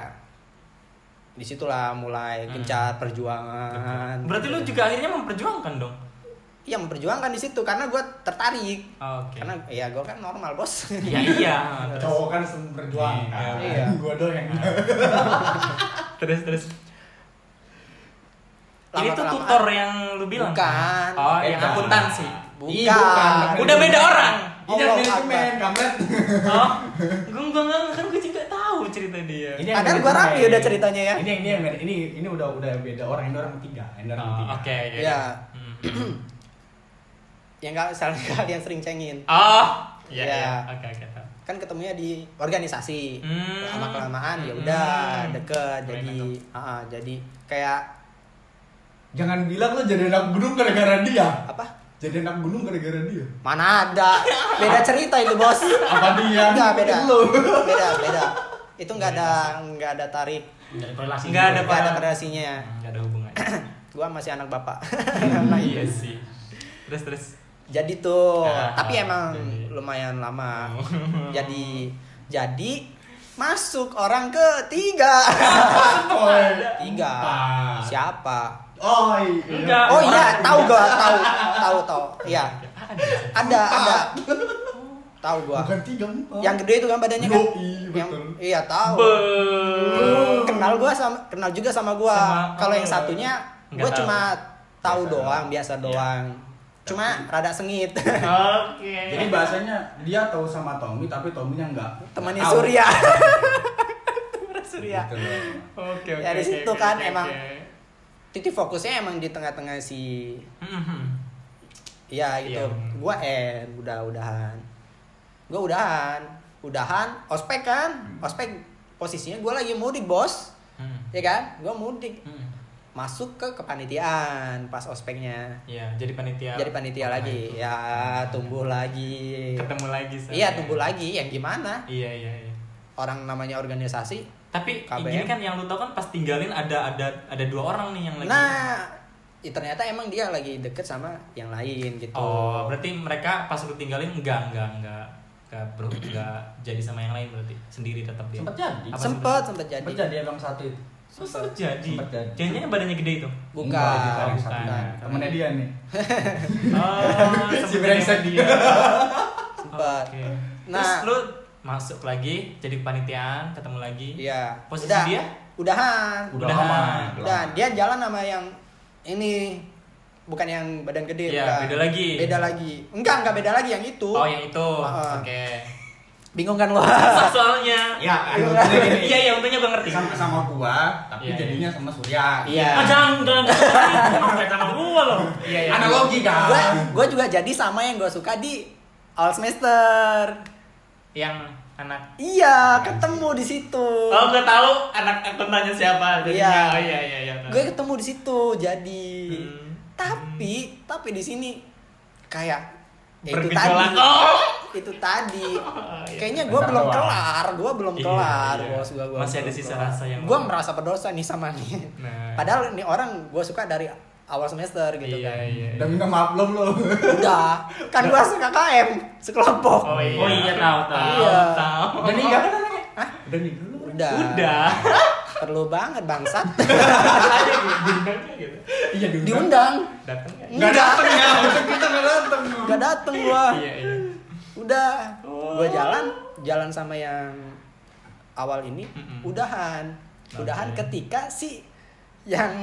Speaker 4: disitulah mulai
Speaker 1: Hmm.
Speaker 4: gencar perjuangan
Speaker 1: Berarti lu juga akhirnya memperjuangkan dong.
Speaker 4: ya memperjuangkan di situ karena gua tertarik
Speaker 1: Oh, Oke.
Speaker 4: karena ya gua kan normal bos
Speaker 1: ya iya. Terus
Speaker 3: Cowok kan sering berjuang. kan.
Speaker 4: Iya.
Speaker 3: Gue doang yang
Speaker 1: terus terus. Ini tuh
Speaker 4: Lama-kelamaan-
Speaker 1: tutor yang lu bilang.
Speaker 4: Bukan.
Speaker 1: Oh, yang
Speaker 3: Beda.
Speaker 1: akuntansi.
Speaker 4: Bukan.
Speaker 3: iya. Ih, bukan. Oh,
Speaker 1: Udah beda orang.
Speaker 3: Ini
Speaker 4: Allah
Speaker 3: manajemen, kampret.
Speaker 1: Oh, gue gue nggak kan gue juga tahu cerita dia. Oh,
Speaker 3: Ini yang
Speaker 4: Padahal gua
Speaker 3: manajemen.
Speaker 4: rapi udah ceritanya ya.
Speaker 3: Ini ini yang ini ini udah udah beda orang, ini orang ketiga, ini orang
Speaker 1: Oh,
Speaker 3: ketiga.
Speaker 1: Oke.
Speaker 4: Iya.
Speaker 1: Hmm.
Speaker 4: yang Ya, nggak salah kalian sering cengin
Speaker 1: Oh, iya
Speaker 4: Iya.
Speaker 1: iya. Oke oke. tahu.
Speaker 4: kan ketemunya di organisasi
Speaker 1: Hmm.
Speaker 4: lama kelamaan ya udah
Speaker 1: Hmm.
Speaker 4: deket
Speaker 1: Keren
Speaker 4: jadi
Speaker 1: itu.
Speaker 4: ah, jadi kayak
Speaker 3: Jangan bilang lo jadi anak gunung gara-gara dia.
Speaker 4: apa
Speaker 3: Jadi anak gunung gara-gara dia.
Speaker 4: mana ada beda cerita itu bos
Speaker 3: Apa dia?
Speaker 4: Enggak, beda
Speaker 3: Lo.
Speaker 4: beda beda itu nggak ada nggak ada tarik
Speaker 2: Dari korelasi.
Speaker 1: Nggak ada,
Speaker 4: nggak ada
Speaker 1: Iya, Pak.
Speaker 4: kreasinya
Speaker 1: Hmm, Nggak ada hubungannya.
Speaker 4: gua masih anak bapak Nah,
Speaker 1: iya sih. Terus terus.
Speaker 4: jadi tuh
Speaker 1: Ah, Oh.
Speaker 4: tapi emang
Speaker 1: jadi.
Speaker 4: lumayan lama jadi jadi masuk orang ketiga
Speaker 3: Oi.
Speaker 4: tiga siapa
Speaker 3: Oi.
Speaker 1: Enggak.
Speaker 4: oh iya tahu gua tahu tahu tahu iya ada ada tahu gua
Speaker 3: Bukan tiga empat.
Speaker 4: yang gede itu kan badannya kan
Speaker 3: Yoi, betul.
Speaker 4: yang iya tahu
Speaker 1: Be.
Speaker 4: kenal gua sama kenal juga sama gua
Speaker 1: Hmm. Sama- oh,
Speaker 4: kalau yang satunya
Speaker 1: Nggak
Speaker 4: gua
Speaker 1: tahu.
Speaker 4: cuma tahu
Speaker 1: Biasa
Speaker 4: doang
Speaker 1: doang.
Speaker 4: biasa
Speaker 1: Iya.
Speaker 4: doang cuma rada sengit
Speaker 2: Oke.
Speaker 3: Jadi bahasanya dia tahu sama Tommy tapi Tommy yang enggak.
Speaker 4: temannya
Speaker 3: Tahu.
Speaker 4: Surya Temannya Surya
Speaker 3: Gitu loh.
Speaker 1: Oke oke.
Speaker 4: Dari
Speaker 1: oke,
Speaker 4: situ
Speaker 1: oke,
Speaker 4: kan
Speaker 1: oke,
Speaker 4: emang-
Speaker 1: oke.
Speaker 4: titik fokusnya emang di tengah-tengah si
Speaker 1: Mhm.
Speaker 4: ya gitu
Speaker 1: Iya.
Speaker 4: gua N udah udahan gua udahan udahan ospek kan ospek posisinya gua lagi mudik bos
Speaker 1: Hmm.
Speaker 4: ya kan gua mudik
Speaker 1: Hmm.
Speaker 4: masuk ke kepanitiaan pas ospeknya
Speaker 1: Iya, jadi panitia.
Speaker 4: jadi panitia
Speaker 1: Nah,
Speaker 4: lagi
Speaker 1: itu.
Speaker 4: ya tumbuh lagi
Speaker 1: Ketemu lagi. Shay.
Speaker 4: iya tumbuh lagi yang gimana
Speaker 1: Iya iya iya.
Speaker 4: orang namanya organisasi
Speaker 1: Tapi
Speaker 4: KBM.
Speaker 1: gini kan yang lu tau kan pas tinggalin ada ada ada dua orang nih yang lagi.
Speaker 4: nah ya ternyata emang dia lagi deket sama yang lain gitu
Speaker 1: Oh, berarti mereka pas lu tinggalin enggak enggak enggak enggak bro, enggak jadi sama yang lain berarti sendiri tetap dia.
Speaker 3: Sempet jadi.
Speaker 1: Apa
Speaker 4: sempet sempet jadi
Speaker 3: Sempet jadi abang satu itu.
Speaker 1: Oh, sempet jadi.
Speaker 3: Sempet jadi.
Speaker 1: Jangan-jangan badannya gede itu.
Speaker 4: Bukan.
Speaker 3: Enggak, itu ada yang
Speaker 1: Bukan.
Speaker 3: satunya. Temennya dia nih.
Speaker 1: Oh,
Speaker 3: Si
Speaker 1: sempet
Speaker 3: brengsek
Speaker 1: jadi.
Speaker 3: Ah, dia.
Speaker 4: Sempet.
Speaker 1: Oke. Terus
Speaker 4: Nah.
Speaker 1: lu masuk lagi jadi panitiaan, ketemu lagi.
Speaker 4: Iya.
Speaker 1: Posisi
Speaker 4: Udah.
Speaker 1: dia?
Speaker 4: Udahan.
Speaker 3: Udah
Speaker 1: Udahan.
Speaker 3: lama.
Speaker 4: Udah. Dia jalan sama yang ini bukan yang badan gede.
Speaker 1: Iya,
Speaker 4: bukan.
Speaker 1: beda lagi.
Speaker 4: Beda lagi. Enggak, enggak beda lagi yang itu.
Speaker 1: Oh, yang itu.
Speaker 4: Ah.
Speaker 1: Oke.
Speaker 4: Bingung kan lo?
Speaker 1: Susah Soalnya.
Speaker 3: Ya, kan, maksudnya gini.
Speaker 1: Iya, yang untungnya gua ngerti.
Speaker 3: sama sama gua, tapi
Speaker 1: Iya, iya.
Speaker 3: jadinya sama Surya.
Speaker 2: Ah,
Speaker 4: Iya.
Speaker 2: jangan jangan jangan. Emang kayak sama gua loh.
Speaker 1: Iya, iya.
Speaker 3: Analogi
Speaker 4: Gue
Speaker 3: kan.
Speaker 4: gue juga jadi sama yang gue suka di all semester.
Speaker 1: Yang anak
Speaker 4: Iya, ketemu di situ.
Speaker 1: Oh, gue tahu anak akuntannya siapa. Jadinya. Oh
Speaker 4: Iya.
Speaker 1: iya iya iya.
Speaker 4: gue ketemu di situ jadi
Speaker 1: Hmm.
Speaker 4: tapi tapi di sini kayak ya itu
Speaker 1: Bergejolak.
Speaker 4: tadi
Speaker 1: Oh!
Speaker 4: itu tadi
Speaker 1: iya.
Speaker 4: kayaknya gue belum
Speaker 3: Bentar
Speaker 4: kelar gue belum
Speaker 1: Iya,
Speaker 4: kelar
Speaker 1: iya.
Speaker 4: bos gue
Speaker 1: Masih ada sisa rasa yang-
Speaker 4: gue merasa berdosa nih sama nih
Speaker 1: Nah.
Speaker 4: padahal nih orang gue suka dari awal semester gitu
Speaker 1: iya,
Speaker 4: kan
Speaker 1: Iya,
Speaker 3: Udah minta maaf belum lo?
Speaker 4: udah kan gue KKM sekelompok
Speaker 1: Oh iya.
Speaker 2: Oh iya, tahu, tahu,
Speaker 1: Iya.
Speaker 4: tahu.
Speaker 3: Udah nikah kan anaknya? Udah nikah lu?
Speaker 4: udah
Speaker 1: Udah.
Speaker 4: perlu banget bangsat
Speaker 1: Aja gitu, diundangnya gitu.
Speaker 3: Iya diundang.
Speaker 4: diundang
Speaker 1: Datang nggak?
Speaker 3: Nggak
Speaker 4: Enggak.
Speaker 3: dateng ya, besok kita nggak dateng.
Speaker 4: gak dateng gue
Speaker 1: Iya, iya.
Speaker 4: udah
Speaker 1: Oh.
Speaker 4: gue jalan jalan sama yang awal ini
Speaker 1: Mm-mm.
Speaker 4: udahan udahan
Speaker 1: Oke.
Speaker 4: ketika si yang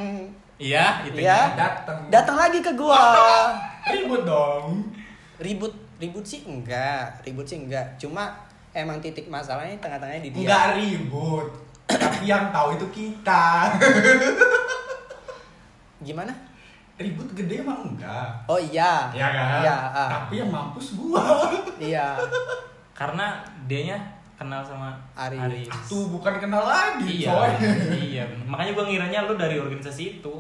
Speaker 1: Iya, itu.
Speaker 4: Iya.
Speaker 3: Dateng.
Speaker 4: datang lagi ke gua
Speaker 3: Ribut dong.
Speaker 4: ribut ribut sih enggak ribut sih enggak cuma emang titik masalahnya tengah-tengahnya di dia
Speaker 3: Enggak ribut. Tapi yang tahu itu kita.
Speaker 4: gimana
Speaker 3: Ribut gede emang enggak.
Speaker 4: oh iya
Speaker 3: Iya kan?
Speaker 4: iya ah.
Speaker 3: Tapi yang mampus gua.
Speaker 4: iya
Speaker 1: Karena dianya kenal sama
Speaker 4: Ari.
Speaker 3: Tuh bukan kenal lagi,
Speaker 1: Iya.
Speaker 3: coy.
Speaker 1: iya. Makanya gue ngiranya lu dari organisasi itu.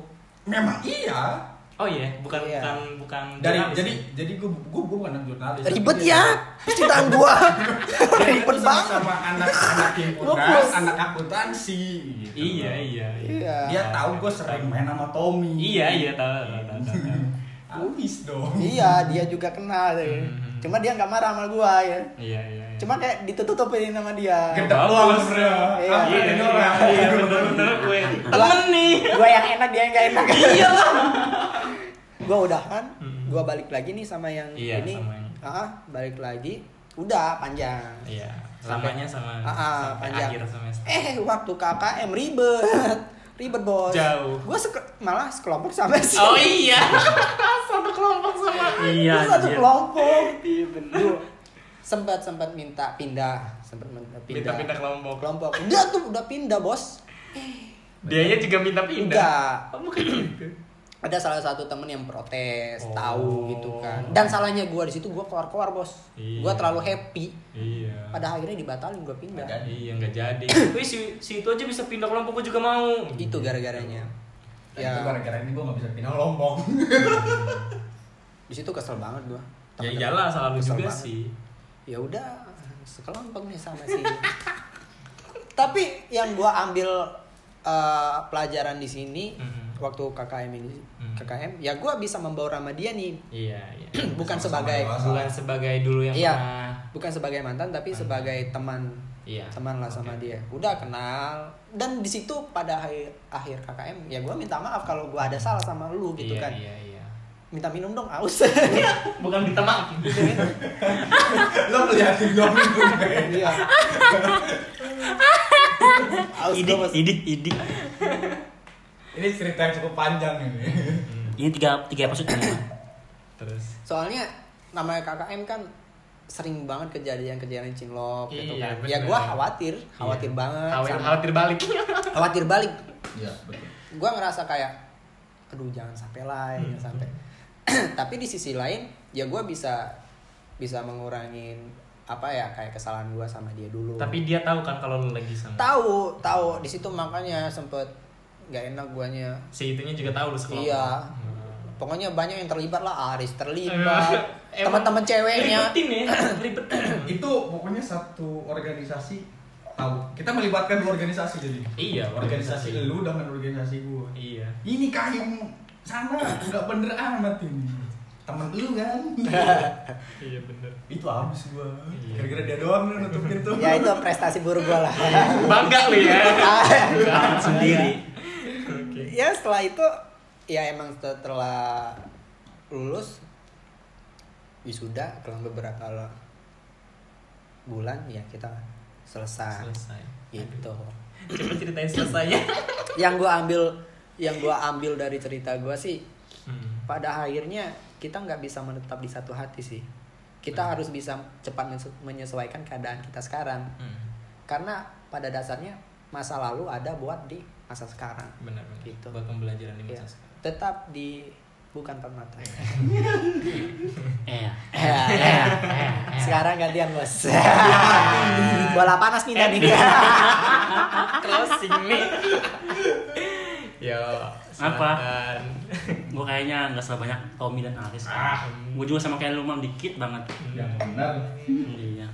Speaker 3: Memang iya.
Speaker 1: Oh iya, bukan
Speaker 4: Iya.
Speaker 1: bukan bukan ya?
Speaker 3: Dari
Speaker 1: jurnalis.
Speaker 3: jadi jadi gua gua, gua bukan anak jurnalis.
Speaker 4: ribet
Speaker 3: Tapi
Speaker 4: ya percintaan gua
Speaker 3: Jadi
Speaker 1: Iya,
Speaker 4: ribet
Speaker 3: itu
Speaker 4: banget
Speaker 3: sama anak-anak himpunan,
Speaker 4: Fokus.
Speaker 3: anak akuntansi. gitu.
Speaker 1: Iya, iya.
Speaker 4: iya
Speaker 3: Dia tahu gue sering main sama Tommy.
Speaker 1: Iya, iya, tahu, tahu, tahu, tahu, tahu.
Speaker 3: Abis dong.
Speaker 4: iya dia juga kenal ya.
Speaker 1: Mm-mm.
Speaker 4: cuma dia nggak marah sama gua ya
Speaker 1: Iya, iya. iya.
Speaker 4: cuma kayak ditutupin sama dia
Speaker 3: Gede
Speaker 1: Bagus.
Speaker 3: banget, bro.
Speaker 4: Iya.
Speaker 3: Apa
Speaker 1: Iya,
Speaker 3: ini
Speaker 1: iya,
Speaker 3: orang?
Speaker 1: iya, bener-bener gue. Temen nih.
Speaker 4: gue yang enak dia yang gak enak iya gue udahan
Speaker 1: Mm.
Speaker 4: gue balik lagi nih sama yang
Speaker 1: Iya,
Speaker 4: ini
Speaker 1: sama yang-
Speaker 4: Ah, balik lagi udah panjang
Speaker 1: Iya,
Speaker 4: Sampai-
Speaker 1: lamanya sama
Speaker 4: Ah, ah,
Speaker 1: sampai
Speaker 4: panjang.
Speaker 1: akhir semester.
Speaker 4: eh waktu KKM ribet ribet bos
Speaker 1: Jauh.
Speaker 4: gue malah sekelompok sama si
Speaker 1: Oh iya.
Speaker 4: satu kelompok sama
Speaker 1: Iya,
Speaker 4: Gua satu
Speaker 1: anjir.
Speaker 4: kelompok iya benar sempat sempat minta pindah sempat minta pindah
Speaker 1: Minta-pindah kelompok.
Speaker 4: kelompok udah tuh udah pindah bos
Speaker 1: Dianya juga minta pindah.
Speaker 4: Enggak.
Speaker 1: Oh, bukan gitu.
Speaker 4: ada salah satu temen yang protes
Speaker 1: Oh.
Speaker 4: tahu gitu kan dan salahnya gua di situ gua keluar-keluar bos
Speaker 1: Iya.
Speaker 4: gua terlalu happy
Speaker 1: Iya.
Speaker 4: pada akhirnya dibatalin gua pindah
Speaker 3: Agak-
Speaker 1: Iya nggak jadi.
Speaker 2: Wih, si, si itu aja bisa pindah ke Lampung, gue juga mau.
Speaker 4: itu gara-garanya
Speaker 1: Iya.
Speaker 3: Ya. Itu
Speaker 4: ya
Speaker 3: gara-gara ini gue gak bisa pindah lombong.
Speaker 4: di situ kesel banget gua
Speaker 1: Ya
Speaker 4: Temen-temen
Speaker 1: iyalah salah lu
Speaker 4: kesel
Speaker 1: juga
Speaker 4: banget.
Speaker 1: sih.
Speaker 4: ya udah sekelompok nih sama sih tapi yang gua ambil eh, pelajaran di sini
Speaker 1: Mhm.
Speaker 4: waktu KKM ini
Speaker 1: Mhm.
Speaker 4: KKM ya gua bisa membawa sama dia nih
Speaker 1: Iya, iya.
Speaker 4: bukan
Speaker 3: Sama-sama
Speaker 4: sebagai
Speaker 3: dewasa.
Speaker 1: Bukan sebagai dulu yang
Speaker 4: Iya.
Speaker 1: pernah.
Speaker 4: bukan sebagai mantan tapi
Speaker 1: Mantan.
Speaker 4: sebagai teman
Speaker 1: Hmm. Iya.
Speaker 4: teman lah sama dia udah kenal dan di situ pada akhir akhir KKM ya gua minta maaf kalau gua ada salah sama lu gitu
Speaker 1: iya,
Speaker 4: kan
Speaker 1: Iya, iya.
Speaker 4: minta minum dong aus
Speaker 2: Bukan ditemak.
Speaker 3: Lo ngeliatin gue minggu
Speaker 4: iya aus gua
Speaker 1: Idik,
Speaker 4: pas-
Speaker 1: idik, idik.
Speaker 3: Ini cerita yang cukup panjang ini.
Speaker 2: Ini tiga tiga episode ini.
Speaker 1: Terus.
Speaker 4: soalnya namanya KKM kan sering banget kejadian-kejadian cinlok gitu
Speaker 1: Iya,
Speaker 4: kan
Speaker 1: bener.
Speaker 4: ya gua khawatir khawatir
Speaker 1: Iya.
Speaker 4: banget
Speaker 1: Khawatir,
Speaker 4: sama-
Speaker 1: khawatir balik.
Speaker 4: khawatir balik
Speaker 3: Iya, betul.
Speaker 4: gua ngerasa kayak aduh jangan sampai lah ya, jangan sampai tapi di sisi lain ya gua bisa bisa mengurangin apa ya kayak kesalahan gua sama dia dulu
Speaker 1: Tapi dia tahu kan kalau lu lagi sama.
Speaker 4: tahu tahu di situ makanya sempet nggak enak guanya
Speaker 1: Si itunya juga tahu lu sekelompok.
Speaker 4: Iya.
Speaker 1: Hmm.
Speaker 4: pokoknya banyak yang terlibat lah Aris terlibat
Speaker 1: Eh, Emang- Iya,
Speaker 4: teman-teman ceweknya
Speaker 2: Ribetin ya, ribetin.
Speaker 3: Itu pokoknya satu organisasi tahu. Kita melibatkan dua organisasi jadi.
Speaker 1: Iya,
Speaker 3: Organisasi,
Speaker 1: organisasi.
Speaker 3: lu dengan organisasi gua.
Speaker 1: Iya.
Speaker 3: Ini kain sana nggak bener amat ini. Temen lu kan.
Speaker 1: Iya bener.
Speaker 3: itu habis gua.
Speaker 1: Iya.
Speaker 3: Gara-gara dia doang lu nutup pintu.
Speaker 4: ya itu prestasi buruk gua lah Ah,
Speaker 1: Bangga lu ya. Bangga sendiri. Oke.
Speaker 4: ya setelah itu ya emang setelah lulus wisuda kalau beberapa la- bulan ya kita selesai,
Speaker 1: Selesai.
Speaker 4: gitu
Speaker 1: Coba ceritain ya. selesainya.
Speaker 4: yang gua ambil yang gua ambil dari cerita gua sih
Speaker 1: Hmm.
Speaker 4: pada akhirnya kita nggak bisa menetap di satu hati sih kita harus bisa cepat menyesu- menyesuaikan keadaan kita sekarang
Speaker 1: Hmm.
Speaker 4: karena pada dasarnya masa lalu ada buat di masa sekarang
Speaker 1: Benar benar.
Speaker 4: Gitu.
Speaker 1: Buat pembelajaran di
Speaker 4: Ya,
Speaker 1: masa sekarang. Iya.
Speaker 4: tetap di bukan permata.
Speaker 2: Eh, iya.
Speaker 4: Sekarang gantian bos. Bola panas nih tadi.
Speaker 1: Closing nih. Yo,
Speaker 2: Apa?
Speaker 1: silakan.
Speaker 2: gue kayaknya nggak sebanyak Tommy dan Aris. Gue juga sama kayak lu mam dikit banget.
Speaker 3: Yang benar.
Speaker 2: Iya.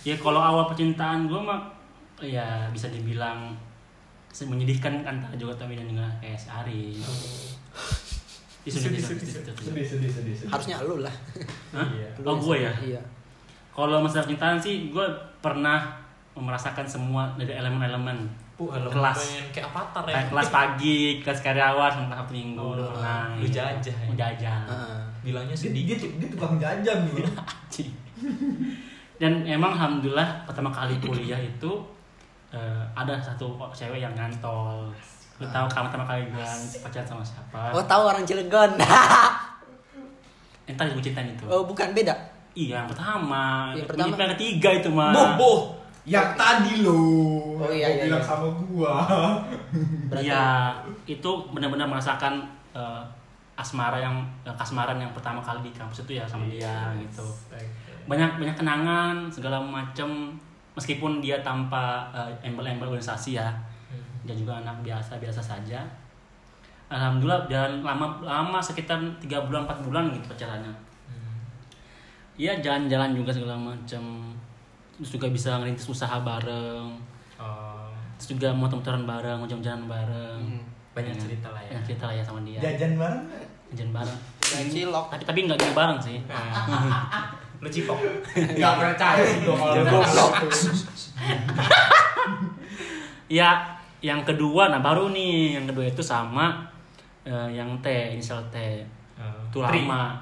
Speaker 2: ya kalau awal percintaan gue mah ya bisa dibilang se- menyedihkan antara juga Tommy dan juga kayak si Ari. Isu isu isu
Speaker 3: Sedih, sedih, sedih, sedih.
Speaker 4: Harusnya lu lah.
Speaker 2: Hah?
Speaker 1: Iya.
Speaker 2: Oh gue ya.
Speaker 4: Iya.
Speaker 2: Kalau masalah percintaan sih gue pernah merasakan semua dari elemen-elemen
Speaker 1: Puh, halo,
Speaker 2: kelas.
Speaker 1: pengen kayak avatar ya.
Speaker 2: Kayak kelas pagi, kelas karyawan, sampai Sabtu minggu,
Speaker 1: Oh,
Speaker 2: udah pernah.
Speaker 1: lu jajah ya?
Speaker 2: Lu jajah.
Speaker 4: Heeh.
Speaker 1: Bilangnya
Speaker 3: Dia,
Speaker 1: sedih.
Speaker 3: dia, dia tukang jajan gitu.
Speaker 1: Iya.
Speaker 2: Cih. Dan emang alhamdulillah pertama kali kuliah itu eh, ada satu cewek yang ngantol. Lu tahu kan pertama kali gue pacaran sama siapa?
Speaker 4: Oh tahu orang Cilegon.
Speaker 2: Entar gue ceritain itu.
Speaker 4: oh bukan beda.
Speaker 2: Iya, yang pertama.
Speaker 4: Iya,
Speaker 2: Yang
Speaker 4: pertama.
Speaker 2: yang ketiga itu mah.
Speaker 3: Boh, boh. Yang
Speaker 1: Iya.
Speaker 3: tadi lo.
Speaker 4: Oh, iya,
Speaker 3: Gua
Speaker 4: iya,
Speaker 3: bilang
Speaker 4: iya.
Speaker 3: sama gua.
Speaker 4: Berarti-
Speaker 2: Iya, itu benar-benar merasakan eh, asmara yang eh, kasmaran yang pertama kali di kampus itu ya sama dia gitu. Banyak banyak kenangan segala macam meskipun dia tanpa eh, embel-embel organisasi ya.
Speaker 4: Hmm.
Speaker 2: Dia juga anak biasa-biasa saja. Alhamdulillah dan lama lama sekitar 3 bulan 4 bulan gitu pacarannya. Iya jalan-jalan juga segala macam. Terus juga bisa ngerintis usaha bareng
Speaker 1: Oh,
Speaker 2: terus juga mau motoran bareng, mau jalan-jalan bareng.
Speaker 4: Hmm,
Speaker 1: banyak
Speaker 2: Iya.
Speaker 1: cerita lah ya.
Speaker 2: Banyak cerita lah ya sama dia.
Speaker 3: Jajan bareng.
Speaker 2: Jalan bareng.
Speaker 4: Dan cilok.
Speaker 2: Tapi tapi nggak jalan bareng sih.
Speaker 1: lu cipok.
Speaker 3: Enggak percaya sih
Speaker 1: Iya.
Speaker 3: gua kalau
Speaker 2: Jajan.
Speaker 3: goblok.
Speaker 2: ya, yang kedua nah baru nih, yang kedua itu sama eh, yang T, inisial T.
Speaker 1: Oh,
Speaker 2: Itu
Speaker 1: Tri.
Speaker 2: lama.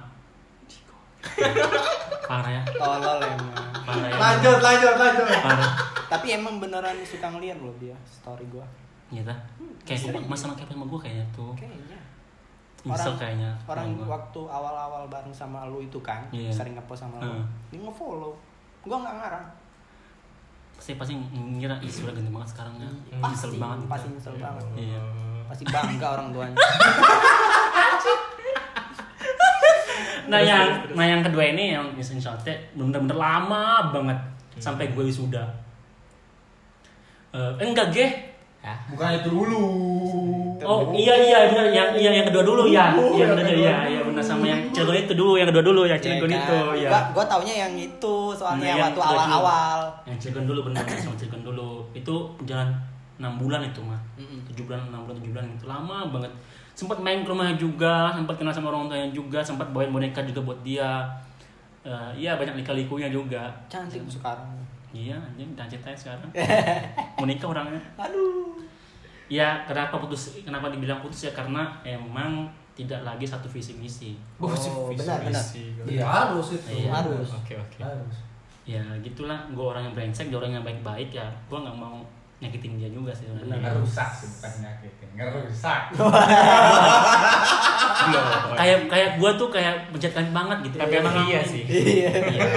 Speaker 2: Parah ya.
Speaker 4: Tolol emang.
Speaker 2: Parah ya.
Speaker 3: Lanjut, lanjut, lanjut.
Speaker 2: Parah.
Speaker 4: Tapi emang beneran suka ngeliat loh dia story gua.
Speaker 2: Gitu. Kayak mas sama kayak sama gue kayaknya tuh.
Speaker 4: Kayaknya.
Speaker 2: Nyesel kayaknya.
Speaker 4: orang
Speaker 2: sama gua.
Speaker 4: waktu awal-awal bareng sama lu itu kan
Speaker 2: Iya.
Speaker 4: sering ngepost sama lu.
Speaker 2: Heeh.
Speaker 4: Dia ngefollow. Gua nggak ngarang.
Speaker 2: pasti pasti ngira isu udah ganteng banget sekarang ya.
Speaker 4: Hmm. Pasti,
Speaker 2: Nyesel banget.
Speaker 4: pasti nyesel banget.
Speaker 2: Iya.
Speaker 1: Oh.
Speaker 4: pasti bangga orang tuanya
Speaker 2: Nah yang nah yang kedua ini yang Mission Shotnya bener-bener lama banget
Speaker 4: Hmm.
Speaker 2: sampai gue wisuda. Eh, enggak geh.
Speaker 3: Bukan itu dulu.
Speaker 2: Oh iya iya benar yang iya yang kedua dulu ya. Iya benar iya iya benar sama yang Cilegon itu dulu yang kedua dulu yang
Speaker 4: Iya,
Speaker 2: Cilegon itu ya.
Speaker 4: kan? Gua, gua taunya yang itu soalnya
Speaker 2: Nah,
Speaker 4: yang
Speaker 2: yang
Speaker 4: waktu
Speaker 2: kedua dulu.
Speaker 4: awal-awal.
Speaker 2: Yang Cilegon dulu benar sama Cilegon dulu. Itu jalan 6 bulan itu mah.
Speaker 4: Mm-mm.
Speaker 2: 7 bulan 6 bulan 7 bulan itu lama banget. Sempat main ke rumahnya juga, sempat kenal sama orang tuanya juga, sempat bawain boneka juga buat dia. Eh, iya banyak lika-likunya juga.
Speaker 4: Cantik sekarang.
Speaker 2: Iya anjing dan ceritanya sekarang mau nikah orangnya.
Speaker 4: Aduh.
Speaker 2: Ya kenapa putus? Kenapa dibilang putus ya karena emang tidak lagi satu visi misi.
Speaker 4: Oh, benar benar.
Speaker 3: Iya harus itu.
Speaker 2: Iya.
Speaker 4: Harus.
Speaker 1: Oke oke.
Speaker 3: Harus.
Speaker 2: Ya gitulah, gue orang yang brengsek, dia orang yang baik-baik ya. Gue nggak mau nyakitin dia juga sih. sebenarnya.
Speaker 5: Ngerusak sih, bukan nyakitin. Ngerusak.
Speaker 2: Kayak kayak gue tuh kayak pencet kaki banget gitu.
Speaker 1: Tapi emang iya sih.
Speaker 4: Iya.
Speaker 2: Iya.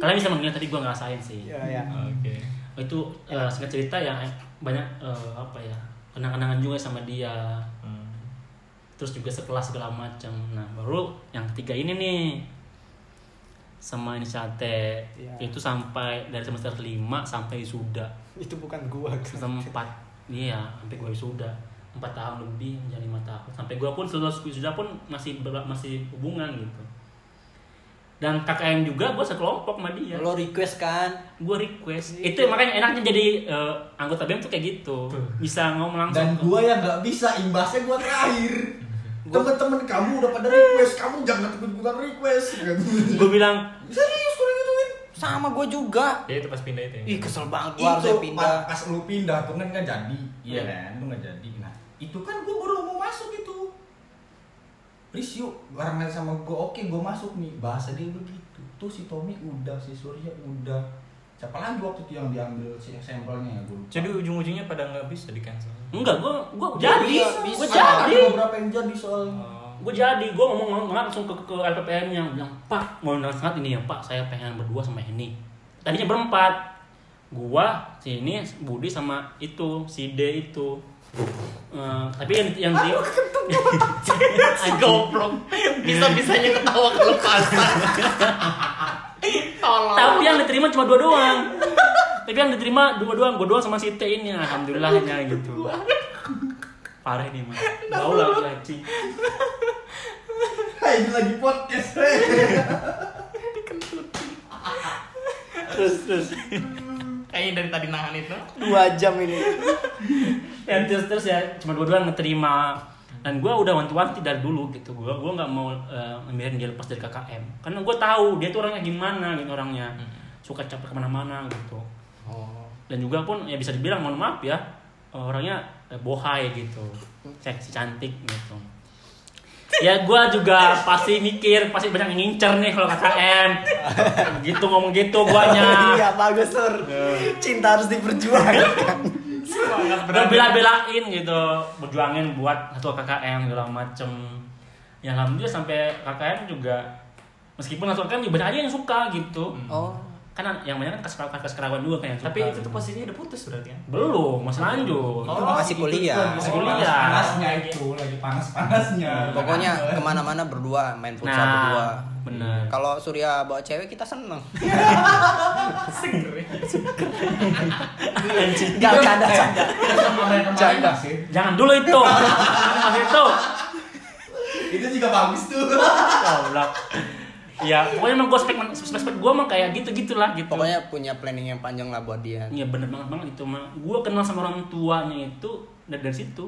Speaker 2: Kalian bisa mengira tadi gue ngerasain sih.
Speaker 4: Iya ya.
Speaker 1: Oke.
Speaker 2: Itu eh, singkat cerita ya eh, banyak eh, apa ya kenang-kenangan juga sama dia.
Speaker 1: Hmm.
Speaker 2: terus juga sekelas segala macam. Nah baru yang ketiga ini nih sama inisial T
Speaker 4: Iya.
Speaker 2: itu sampai dari semester 5 sampai sudah
Speaker 4: Itu bukan gua.
Speaker 2: semester 4 iya sampai gue sudah 4 tahun lebih menjadi 5 tahun sampai gue pun lulus sudah pun masih ber- masih hubungan gitu dan KKM juga gue sekelompok sama dia
Speaker 4: Lo request kan?
Speaker 2: gue request itu makanya enaknya jadi eh, anggota BEM tuh kayak gitu bisa ngomong langsung
Speaker 3: Dan
Speaker 2: ke-
Speaker 3: gua yang nggak bisa imbasnya gua terakhir. Temen-temen kamu udah pada request, kamu jangan ikut-ikutan request. Gitu.
Speaker 2: gue bilang
Speaker 3: Serius gua digituin.
Speaker 4: Sama gua juga.
Speaker 1: Ya itu pas pindah itu. ya?
Speaker 4: Ih kesel banget gua harusnya
Speaker 3: Itu
Speaker 4: pindah.
Speaker 3: pas, pas lu pindah tuh kan nggak jadi. Iya
Speaker 1: Hmm.
Speaker 3: kan, lu nggak jadi. Nah itu kan gua baru mau masuk itu. Please yuk, barengan sama gua oke gua masuk nih. Bahasa dia begitu. Tuh si Tommy udah, si Surya udah. Siapa lagi waktu itu yang diambil si sampelnya ya gua lupa.
Speaker 1: Jadi ujung-ujungnya pada nggak bisa di cancel.
Speaker 2: enggak gue gue
Speaker 4: Iya,
Speaker 2: jadi
Speaker 4: bisa. Ada
Speaker 2: gue jadi
Speaker 3: Ada beberapa yang jadi soalnya.
Speaker 2: gue jadi gue ngomong, ngomong langsung ke, ke LPPM yang bilang pak mau nanya sangat ini ya pak saya pengen berdua sama ini tadinya berempat gua si ini Budi sama itu si D itu Eh, tapi yang yang di goblok
Speaker 1: Bisa bisanya ketawa kelepasan.
Speaker 2: tapi yang diterima cuma dua doang tapi yang diterima dua doang gua doang sama si T ini alhamdulillahnya gitu parah nih mah bau lagi lagi
Speaker 3: Hei, ini lagi podcast. eh. hei.
Speaker 2: terus terus
Speaker 1: Kayaknya dari tadi nahan itu.
Speaker 4: Dua jam ini.
Speaker 2: ya terus terus ya cuma dua-dua ngeterima dan gue udah wanti-wanti dari dulu gitu gue gue nggak mau eh, ngebiarin dia lepas dari KKM karena gue tahu dia tuh orangnya gimana gitu orangnya suka capek kemana-mana gitu
Speaker 1: Oh.
Speaker 2: dan juga pun ya bisa dibilang mohon maaf ya eh, orangnya eh, bohai gitu seksi cantik gitu ya gue juga pasti mikir pasti banyak yang ngincer nih kalau KKM gitu ngomong gitu guanya
Speaker 4: Iya bagus sur. Cinta harus diperjuangkan.
Speaker 2: udah bela-belain gitu berjuangin buat satu KKM segala macem ya alhamdulillah sampai KKM juga meskipun satu KKM ya banyak aja yang suka gitu
Speaker 4: Oh.
Speaker 2: kan yang banyak kan kasih kas kerawan juga kan yang suka
Speaker 1: Tapi itu tuh Oh, posisinya udah putus berarti kan?
Speaker 2: belum masih lanjut
Speaker 4: Itu masih kuliah.
Speaker 2: Masih kuliah.
Speaker 5: Panas-panasnya itu, lagi panas-panasnya.
Speaker 4: Pokoknya kemana-mana berdua main futsal
Speaker 2: Nah,
Speaker 4: berdua.
Speaker 2: bener.
Speaker 4: Kalau Surya bawa cewek kita seneng.
Speaker 2: Anjing.
Speaker 4: Gak ada canda.
Speaker 5: Kemarin-kemarin
Speaker 3: ya.
Speaker 5: sih.
Speaker 2: jangan dulu itu jangan itu
Speaker 3: Itu juga bagus tuh.
Speaker 2: Goblok. ya pokoknya emang gue spek spek spek gue emang kayak gitu gitulah gitu
Speaker 4: Pokoknya punya planning yang panjang lah buat dia.
Speaker 2: Iya bener banget banget itu mah. Gue kenal sama orang tuanya itu dari, dari situ.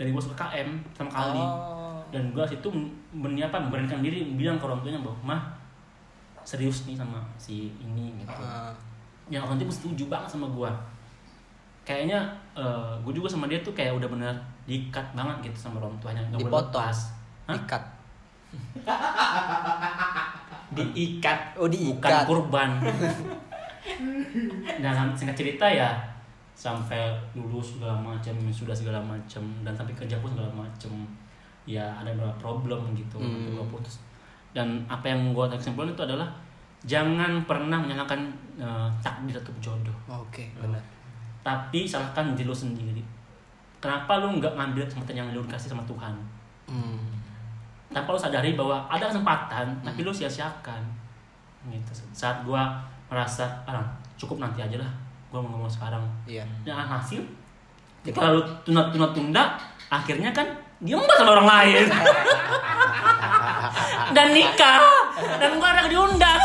Speaker 2: Dari gue KM sama kali.
Speaker 4: Oh.
Speaker 2: Dan gue situ men, apa, memberanikan diri bilang ke orang tuanya bahwa mah serius nih sama si ini gitu.
Speaker 4: Ah.
Speaker 2: Yang orang tua pun setuju banget sama gue. Kayaknya gue juga sama dia tuh kayak udah bener diikat banget gitu sama orang tuanya. Nggak boleh
Speaker 4: Dipotong.
Speaker 2: lepas. Hah?
Speaker 4: Ikat.
Speaker 2: diikat
Speaker 4: Oh,
Speaker 2: bukan
Speaker 4: diikat.
Speaker 2: kurban dan singkat cerita ya sampai lulus segala macam sudah segala macam dan sampai kerja pun segala macam ya ada beberapa problem gitu
Speaker 4: Hmm.
Speaker 2: gue putus dan apa yang gue tarik kesimpulan itu adalah jangan pernah menyalahkan eh, takdir atau jodoh
Speaker 4: Oke, benar.
Speaker 2: tapi salahkan diri lo sendiri kenapa lu nggak ngambil kesempatan yang lu dikasih sama Tuhan
Speaker 4: Mm,
Speaker 2: tanpa lu Nah, sadari bahwa ada kesempatan tapi lu sia-siakan gitu saat gua merasa ah cukup nanti aja lah gua mau ngomong sekarang
Speaker 4: Iya.
Speaker 2: dan hasil kalau lu tunda-tunda akhirnya kan dia mbak sama orang lain dan nikah dan gua anak diundang